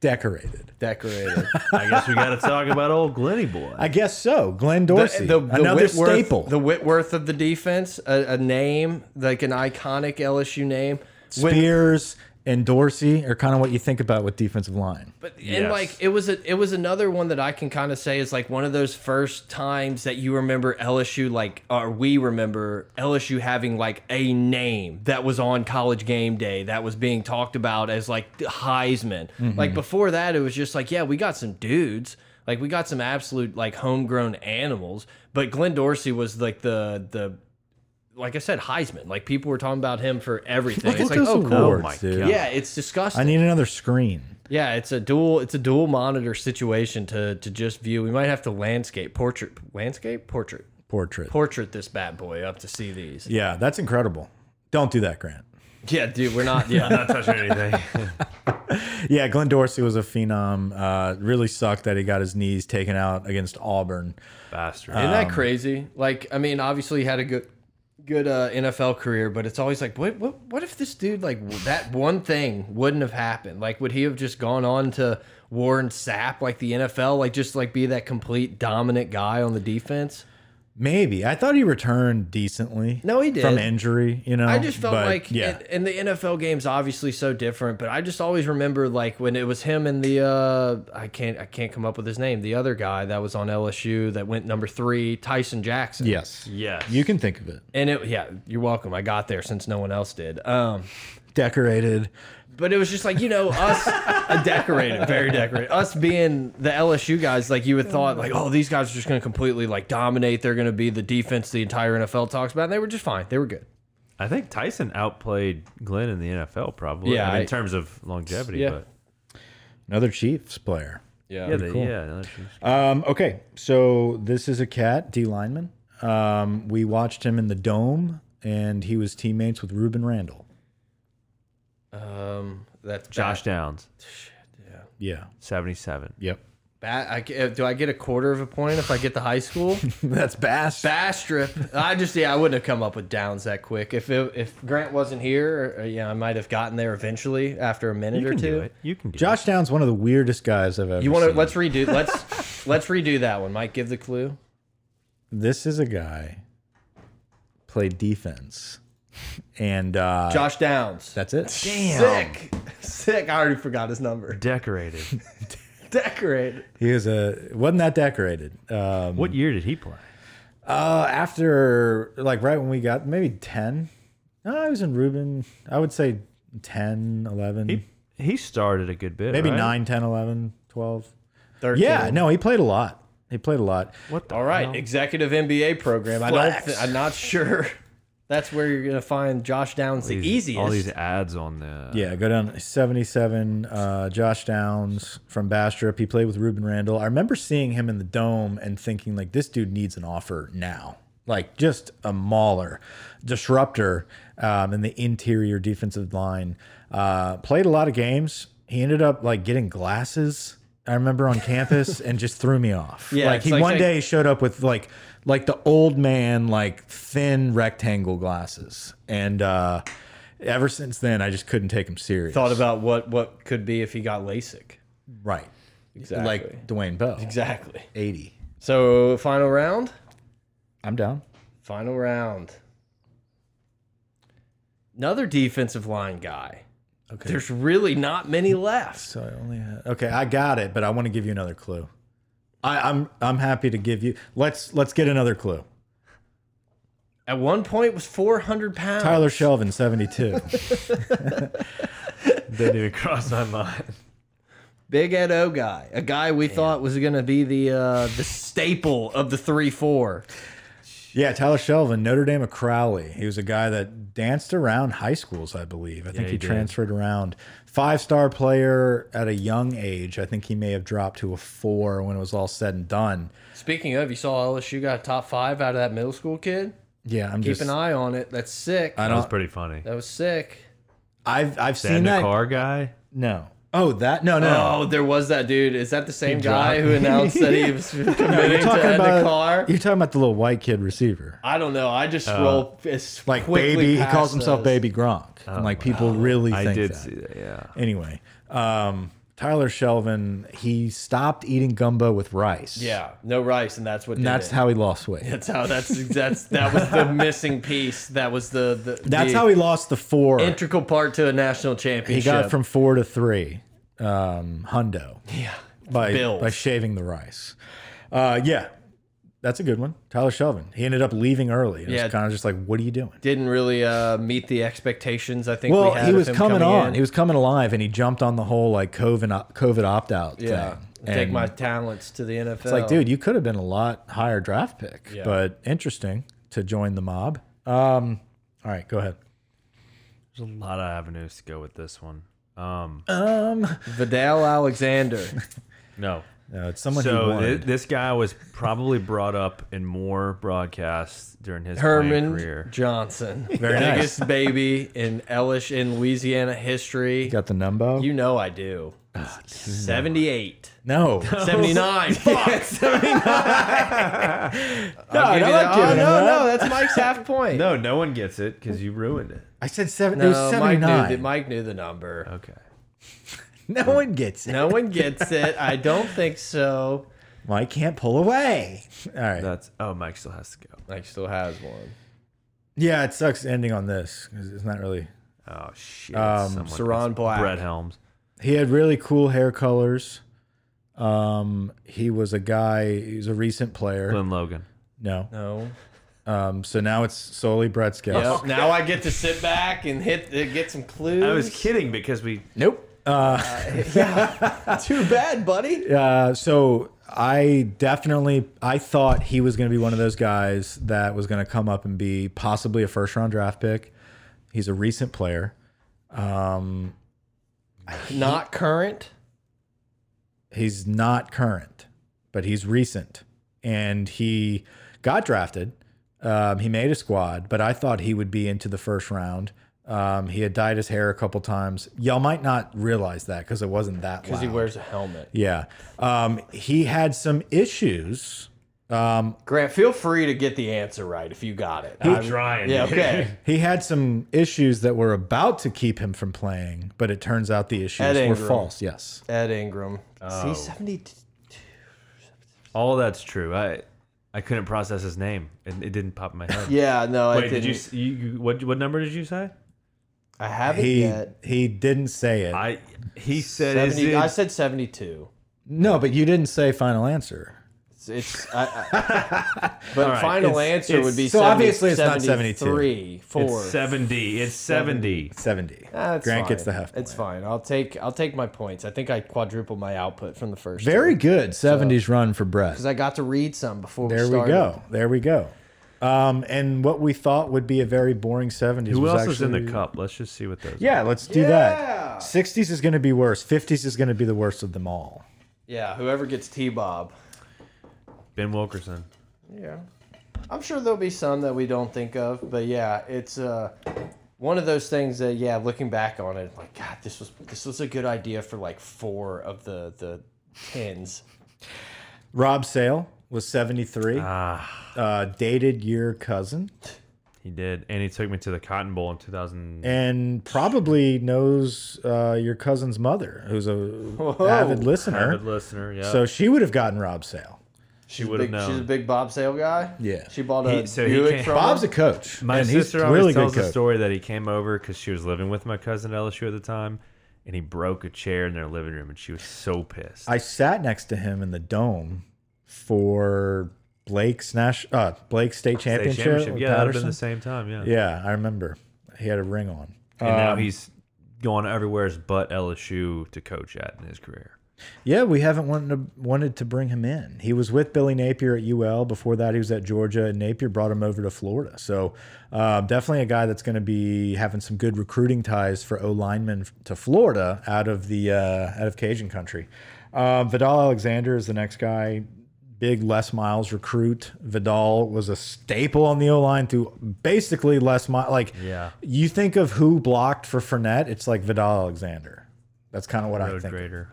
Decorated. (laughs) Decorated. I guess we got to talk about old Glenny boy. I guess so. Glenn Dorsey. another staple. The Whitworth of the defense, a, a name like an iconic LSU name. When- Spears and Dorsey are kind of what you think about with defensive line. and Yes. like it was a, it was another one that I can kind of say is like one of those first times that you remember LSU like or we remember LSU having like a name that was on college game day that was being talked about as like the Heisman. Mm-hmm. Like before that it was just like yeah, we got some dudes. Like we got some absolute like homegrown animals, but Glenn Dorsey was like the the like I said Heisman. Like people were talking about him for everything. Look It's at like those oh cool. awards, my dude. God. Yeah, it's disgusting. I need another screen. Yeah, it's a dual it's a dual monitor situation to to just view. We might have to landscape portrait landscape portrait Portrait. portrait this bad boy up to see these. yeah, that's incredible. Don't do that, Grant. Yeah, dude, we're not yeah. Not touching anything. Yeah, Glenn Dorsey was a phenom. Uh, really sucked that he got his knees taken out against Auburn. (laughs) Bastard. (laughs) Isn't that crazy? Like, I mean, obviously he had a good good uh, NFL career, but it's always like, what, what what if this dude like w- that one thing wouldn't have happened? Like, would he have just gone on to Warren Sapp, like the NFL, like just like be that complete dominant guy on the defense? Maybe I thought he returned decently. No, he did. from injury. You know, I just felt but like, yeah, and, and the NFL game's obviously so different, but I just always remember like when it was him and the uh, I can't I can't come up with his name, the other guy that was on LSU that went number three, Tyson Jackson. yes, yes. you can think of it. and it yeah, you're welcome. I got there since no one else did. Um, Decorated. but it was just like you know us a decorated (laughs) very decorated us being the lsu guys like you would thought like oh these guys are just going to completely like dominate they're going to be the defense the entire nfl talks about and they were just fine they were good I think Tyson outplayed Glenn in the NFL probably. Yeah, I mean, I- in terms of longevity, Yeah. but Another Chiefs player. yeah, they, yeah. that's just- Um, okay, so this is a cat D lineman. Um, we watched him in the dome, and he was teammates with Ruben Randall. um that's Josh Downs, Yeah. seventy-seven. Yep. Ba I, ca- do I get a quarter of a point if I get to high (laughs) school? (laughs) That's Bass. Bastrip. I just yeah, I wouldn't have come up with downs that quick. If it, if Grant wasn't here, uh, yeah, I might have gotten there eventually after a minute You or can two. do it. You can do Josh Downs, one of the weirdest guys I've ever. You want to seen. let's redo (laughs) let's let's redo that one. Mike, give the clue. This is a guy played defense, and uh, Josh Downs. that's it. Sick, (laughs) sick. I already forgot his number. (laughs) it. Decorated. Decorate. He was a wasn't that decorated. Um, what year did he play? uh, after like right when we got maybe ten. No, I was in Ruben. I would say 10, 11, He he started a good bit. maybe right? nine, ten, eleven, twelve. 9, 10, 11, 12. 13. Yeah, no, he played a lot. He played a lot. What? The All right, executive MBA program. I don't. Flex. Th I'm not sure. (laughs) That's where you're gonna find Josh Downs the These- easiest. All these ads on (laughs) the. Yeah, go down to 77. Uh, Josh Downs from Bastrop. He played with Ruben Randall. I remember seeing him in the dome and thinking, like, this dude needs an offer now. Like, just a mauler, disruptor um, in the interior defensive line. Uh, played a lot of games. He ended up, like, getting glasses. I remember on campus and just threw me off. Yeah, like it's he like- one like- day showed up with like like the old man like thin rectangle glasses, and uh, ever since then I just couldn't take him serious. thought about what what could be if he got LASIK. Right. Exactly. Like Dwayne Bowe. exactly. 80. So final round. I'm down. Final round. Another defensive line guy. Okay. There's really not many left. So I only had, Okay, I got it, but I want to give you another clue. I, I'm I'm happy to give you. Let's let's get another clue. At one point, it was 400 pounds. Tyler Shelvin, 72. Didn't even cross my (laughs) mind. Big Ed O guy, a guy we thought was going to be the uh, the staple of the three four. yeah, Tyler Shelvin, Notre Dame of Crowley. He was a guy that danced around high schools, I believe. I think he, he did. transferred around. Five star player at a young age. I think he may have dropped to a four when it was all said and done. Speaking of, you saw LSU got a top five out of that middle school kid. Yeah, I'm Keep just. an eye on it. That's sick. I That was don't. pretty funny. that was sick. I've I've That seen the that. car guy. No, Oh, that? No, no. no. Oh, there was that dude. Is that the same guy who announced that (laughs) he was committing you're to talking end about a car? you're talking about the little white kid receiver, I don't know. I just Uh, scroll as like quickly baby. He past calls himself those. Baby Gronk. I'm like people really think Oh, I did that. see that. Yeah. Anyway, um, Tyler Shelvin he stopped eating gumbo with rice. Yeah, no rice, and that's what. and did that's it. how he lost weight. That's how. That's that's that was (laughs) the missing piece. That was the. the That's the how he lost the four. integral part to a national he championship. got from four to three, um, hundo. Yeah, by Bills. by shaving the rice. Uh, yeah, that's a good one. Tyler Shelvin. He ended up leaving early. It Yeah. was kind of just like, what are you doing? didn't really uh, meet the expectations. I think. Well, we had he of was him coming, on. in. He was coming alive, and he jumped on the whole like COVID op- COVID opt out yeah. thing. Take And my talents to the NFL. It's like, dude, you could have been a lot higher draft pick, but interesting to join the mob. Um, all right, go ahead. There's a lot of avenues to go with this one. Um, (laughs) Vidal Alexander. no. No, Uh, it's someone who So wanted. th this guy was probably brought up in more broadcasts during his playing career. Herman Johnson, (laughs) Very nice. biggest baby in Ellish in Louisiana history. Got Ah, the number? You know I do. Seventy-eight. (laughs) no. (laughs) 79. (laughs) Fuck. 79. No, I'll give no, you that. I give Oh, him that. no, (laughs) no, that's Mike's half point. No, no one gets it because you ruined it. I said seven. it was no Mike, knew 79. the, Mike knew the number. Okay. no one gets it. No one gets it. I don't think so. Mike can't pull away. All right. That's oh, Mike still has to go. Mike still has one. yeah, it sucks ending on this 'cause it's not really. Oh shit! Um, someone Saron gets Black. Brett Helms. He had really cool hair colors. Um, he was a guy. He was a recent player. Glenn Logan. No. No. Um, so now it's solely Brett's guess. Yep. Now I get to sit back and hit get some clues. I was kidding because we Nope. too bad, buddy. Uh, so I definitely I thought he was going to be one of those guys that was going to come up and be possibly a first round draft pick. He's a recent player. Not current. He's not current, but he's recent, and he got drafted. Um, he made a squad, but I thought he would be into the first round. Um, he had dyed his hair a couple times. Y'all might not realize that because it wasn't that. Because he loud. wears a helmet. yeah, um, he had some issues. Um, Grant, feel free to get the answer right if you got (laughs) it. I'm trying. Yeah, (laughs) okay. He had some issues that were about to keep him from playing, but it turns out the issues Ed were Ingram. false. Yes. Ed Ingram. Oh. See, 72. All that's true. I I couldn't process his name, and it didn't pop in my head. Yeah, no, I (laughs) Wait, didn't. did you, s- you? you- What what number did you say? I haven't He yet. he didn't say it. I he said is 70, it- I said 72. no, but you didn't say final answer. It's, it's I, I, (laughs) but right, final it's- answer it's- would be so 70, obviously it's not 72. 73, four. it's seventy. It's seventy. 70. Ah, it's Grant fine. gets the half. It's point. fine. I'll take I'll take my points. I think I quadrupled my output from the first. Very good 70s run for Brett. because I got to read some before There we we started. go. There we go. Um, and what we thought would be a very boring 70s Who was else actually is in the cup? Let's just see what those. Yeah, let's do that. 60s is going to be worse. 50s is going to be the worst of them all. Yeah, whoever gets T Bob. Ben Wilkerson. Yeah. I'm sure there'll be some that we don't think of, but yeah, it's uh one of those things that yeah, looking back on it, like God, this was this was a good idea for like four of the the tens. Rob Sale was 73. Ah. Uh, dated your cousin. He did, and he took me to the Cotton Bowl in two thousand. and probably knows uh, your cousin's mother, who's a avid listener. Good listener. Yeah. So she would have gotten Rob Sale. she would have Big, she's a known. big Bob Sale guy. Yeah. She bought a He- so he Buick can't- from Bob's a him. coach. My and sister he's always really tells good the coach. story that he came over because she was living with my cousin at LSU at the time, and he broke a chair in their living room, and she was so pissed. I sat next to him in the dome for Blake's Nash, uh, Blake State State Championship. with yeah, that'd have been Patterson. the same time, yeah. Yeah, I remember. He had a ring on. And now he's gone everywhere but LSU to coach at in his career. Yeah, we haven't wanted to, wanted to bring him in. He was with Billy Napier at UL. Before that, he was at Georgia, and Napier brought him over to Florida. So, uh, definitely a guy that's going to be having some good recruiting ties for O linemen to Florida out of the uh, out of Cajun country. Um, Vidal Alexander is the next guy. Big Les Miles recruit. Vidal was a staple on the O line through basically Les Miles. Like, Yeah. you think of who blocked for Fournette, it's like Vidal Alexander. That's kind of what I Road think. grader.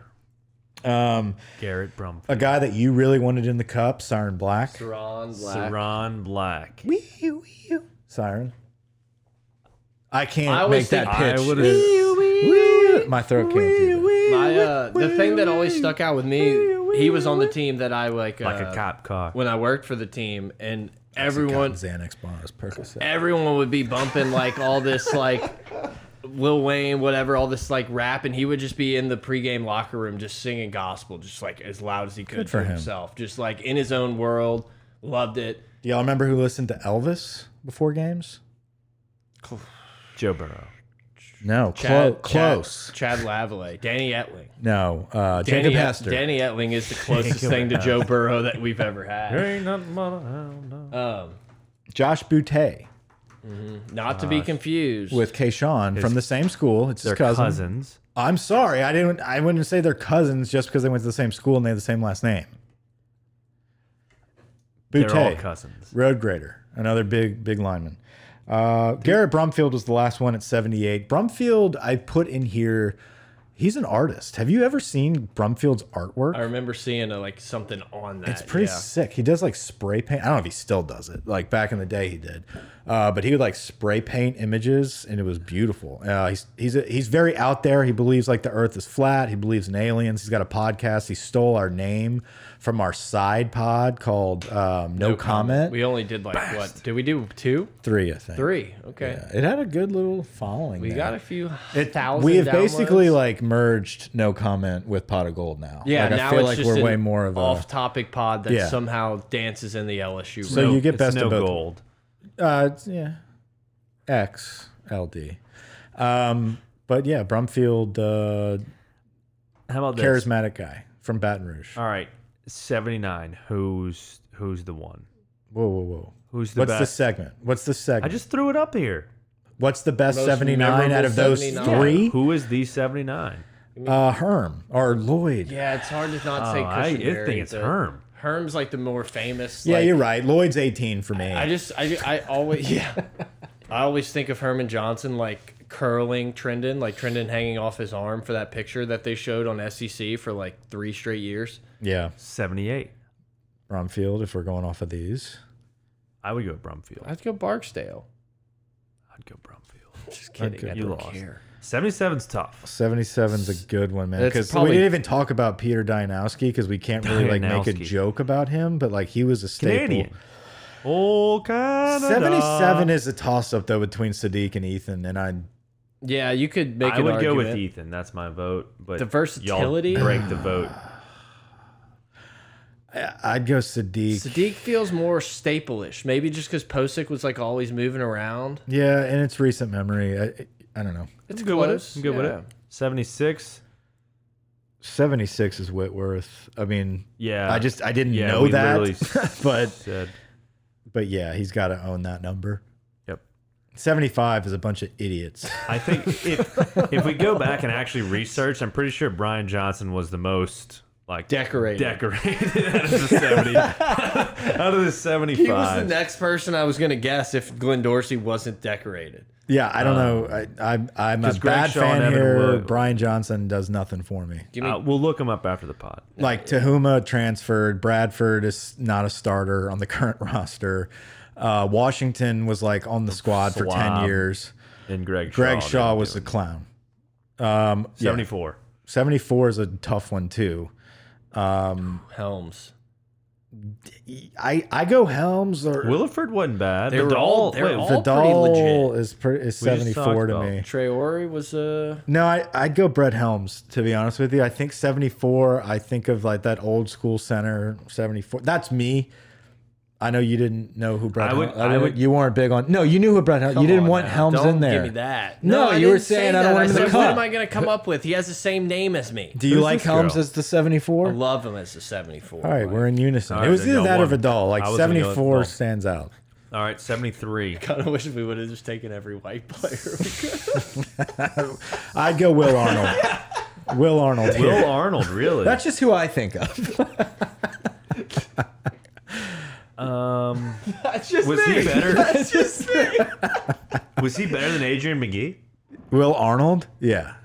Um, Garrett Brumfield. a guy that you really wanted in the cup, Siren Black. Ron Black. Saron Black. Siren. I can't I always make that think- pitch. I would have. My throat can't do that. My, uh, the thing that always stuck out with me, he was on the team that I like, uh, Like a cop car. when I worked for the team, and Cotton everyone Xanax bars, Percocet. everyone would be bumping like all this like Lil Wayne, whatever, all this like rap, and he would just be in the pregame locker room just singing gospel, just like as loud as he could for for him. himself, just like in his own world. Loved it. Do y'all remember who listened to Elvis before games? Joe Burrow. No, Chad- clo- close. Chad, Chad Lavallee, Danny Etling. No, uh, Danny, Jacob Hester. Danny Etling (laughs) is the closest thing to Joe Burrow that we've ever had. Ain't nothing but a hound dog. Um, Josh Boutte not to be confused with Kayshawn from the same school. It's his They're cousin. cousins. I'm sorry, I didn't. I wouldn't say they're cousins just because they went to the same school and they have the same last name. They're all Boutte, cousins. road grader, another big big lineman. Uh, Garrett Brumfield was the last one at 78. Brumfield, I put in here. He's an artist. Have you ever seen Brumfield's artwork? I remember seeing uh like something on that. It's pretty yeah. sick. He does like spray paint. I don't know if he still does it. Like back in the day, he did. Uh, but he would like spray paint images, and it was beautiful. Uh, he's he's a, he's very out there. He believes like the Earth is flat. He believes in aliens. He's got a podcast. He stole our name from our side pod called um, No, Comment We only did like what? Did we do two, Three. I think three? Okay, Yeah, it had a good little following. we got a few thousand. We have basically downloads. like merged No Comment with Pot of Gold now. yeah. like, now I feel it's like just we're an way more of a. off-topic pod that Yeah. somehow dances in the LSU. so room. you get It's best no of both. gold. Uh, it's- yeah, X L D. Um, but yeah, Brumfield, uh, How about this? charismatic guy from Baton Rouge. Uh, All right, seventy nine. Who's who's the one? Whoa, whoa, whoa! Who's the What's the best? segment? What's the segment? I just threw it up here. What's the best seventy nine out memorable of those 79? three? Who is the seventy nine? Uh, Herm or Lloyd? Yeah, yeah, it's hard to Oh, not say. I, I Christian Berry, think it's though. Herm. Herm's like the more famous. like- you're right. Lloyd's eighteen for me. I just I I always yeah. I always think of Herman Johnson like curling Trendon, like Trendon hanging off his arm for that picture that they showed on SEC for like three straight years. yeah, Seventy eight. Brumfield. If we're going off of these, I would go Brumfield. I'd go Barksdale. I'd go Brumfield. Just kidding. go- I you don't lost. care. 77's tough. 77's a good one, man. That's Because probably- we didn't even talk about Peter Dianowski because we can't really like make a Dianowski. joke about him, but like he was a staple. Canadian. Oh, Canada. 77 is a toss up though between Sadiq and Ethan and I Yeah, you could make. I an would go with argument. Ethan. That's my vote. But The versatility? Y'all break (sighs) the vote. I'd go Sadiq. Sadiq feels more staple-ish. Maybe just because Posick was like always moving around. Yeah, in its recent memory, I I don't know. It's I'm good close. with it. I'm good yeah. with it. 76. 76 is Whitworth. I mean, Yeah. I just I didn't yeah, know we (laughs) literally that. s- but said. but yeah, he's got to own that number. Yep. 75 is a bunch of idiots. I think if if we go back and actually research, I'm pretty sure Brian Johnson was the most like Decorated. decorated out of the 70 (laughs) out of the 75. He was the next person I was gonna guess if Glenn Dorsey wasn't decorated. Yeah, I don't know. I, I I'm a 'cause Uh, Greg bad Shaw fan and Evan here. Wood- Brian Johnson does nothing for me. Uh, we'll look him up after the pod. like Tahuma transferred. Bradford is not a starter on the (laughs) current roster. Uh, Washington was like on the squad for ten Slob. years. And Greg Shaw. Greg Shaw didn't was do a it. clown. 74. Seventy four is a tough one too. Helms. I I go Helms or Williford wasn't bad. They were all- they were all pretty Vidal legit. is pre- is We seventy just four to talked me. Traore was uh No, I I'd go Brett Helms to be honest with you. I think seventy four. I think of like that old school center seventy four. That's me. I know you didn't know who Brett. I would- Helms, I didn't- would- You weren't big on. No, you knew who Brett. Helms, you didn't on want now. Helms Don't in there. give me that. No, I you were didn't say saying I don't that. want him in the said, What cup. am I going to come up with? He has the same name as me. Do you Who's like this Helms girl? as the I 74? All love him as a 74. right, we're (laughs) in unison. All right, it was there you either go, that or one. Vidal. Like I was gonna go with 74 Vidal. stands out. All right, (laughs) 73. kind of wish we would have just taken every white player. (laughs) I'd go Will Arnold. (laughs) Will Arnold. here. Will Arnold, really? That's just who I think of. um, That's just was he (laughs) better? That's just me. (laughs) Was he better than Adrian McGee? Will Arnold? Yeah.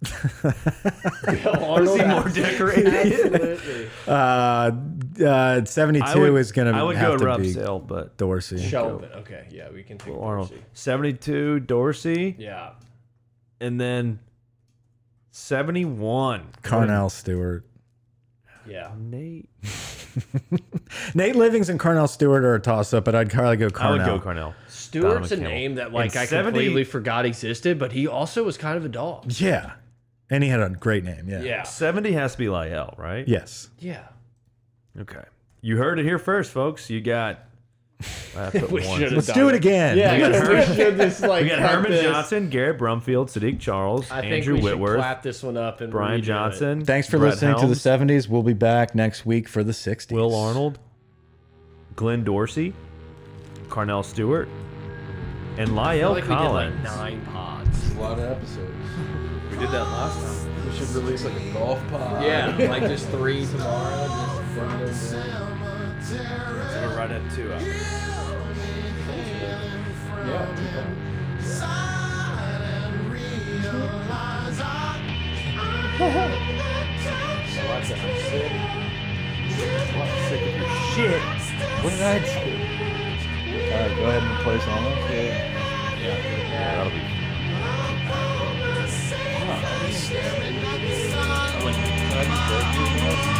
Bill Arnold. more decorated. Absolutely. Uh, uh, 72 is going I to would go have to be Rubsdale, but Dorsey. Sheldon. Okay, yeah, we can take Arnold. Dorsey. 72, Dorsey, Yeah. and then 71. Carnell Stewart. Yeah. Nate. Nate Livings and Carnell Stewart are a toss up, but I'd probably go I would Carnell. go Carnell. Stewart's a Donovan Campbell. name that like In I 70 completely forgot existed, but he also was kind of a dog. Yeah. And he had a great name. Yeah. Yeah. 70 has to be Lyell, right? Yes. Yeah. Okay. You heard it here first, folks. You got. I (laughs) put We one. should have Let's do it again. Yeah, we should just like We got cut Herman this. Johnson, Garrett Brumfield, Sadiq Charles, I think Andrew we should Whitworth, clap this one up and Brian redo it. Johnson. Thanks for Brett listening Helms, to the 70s. We'll be back next week for the 60s. Will Arnold, Glenn Dorsey, Carnell Stewart, and I feel Lyle like we did Collins. like nine pods. A lot of episodes. we did that last time. We should release like a golf pod. Yeah, like just three tomorrow. Just We're right at two. uh, Shit. What did I do? Alright, go ahead and play some. Okay. That'll be Like,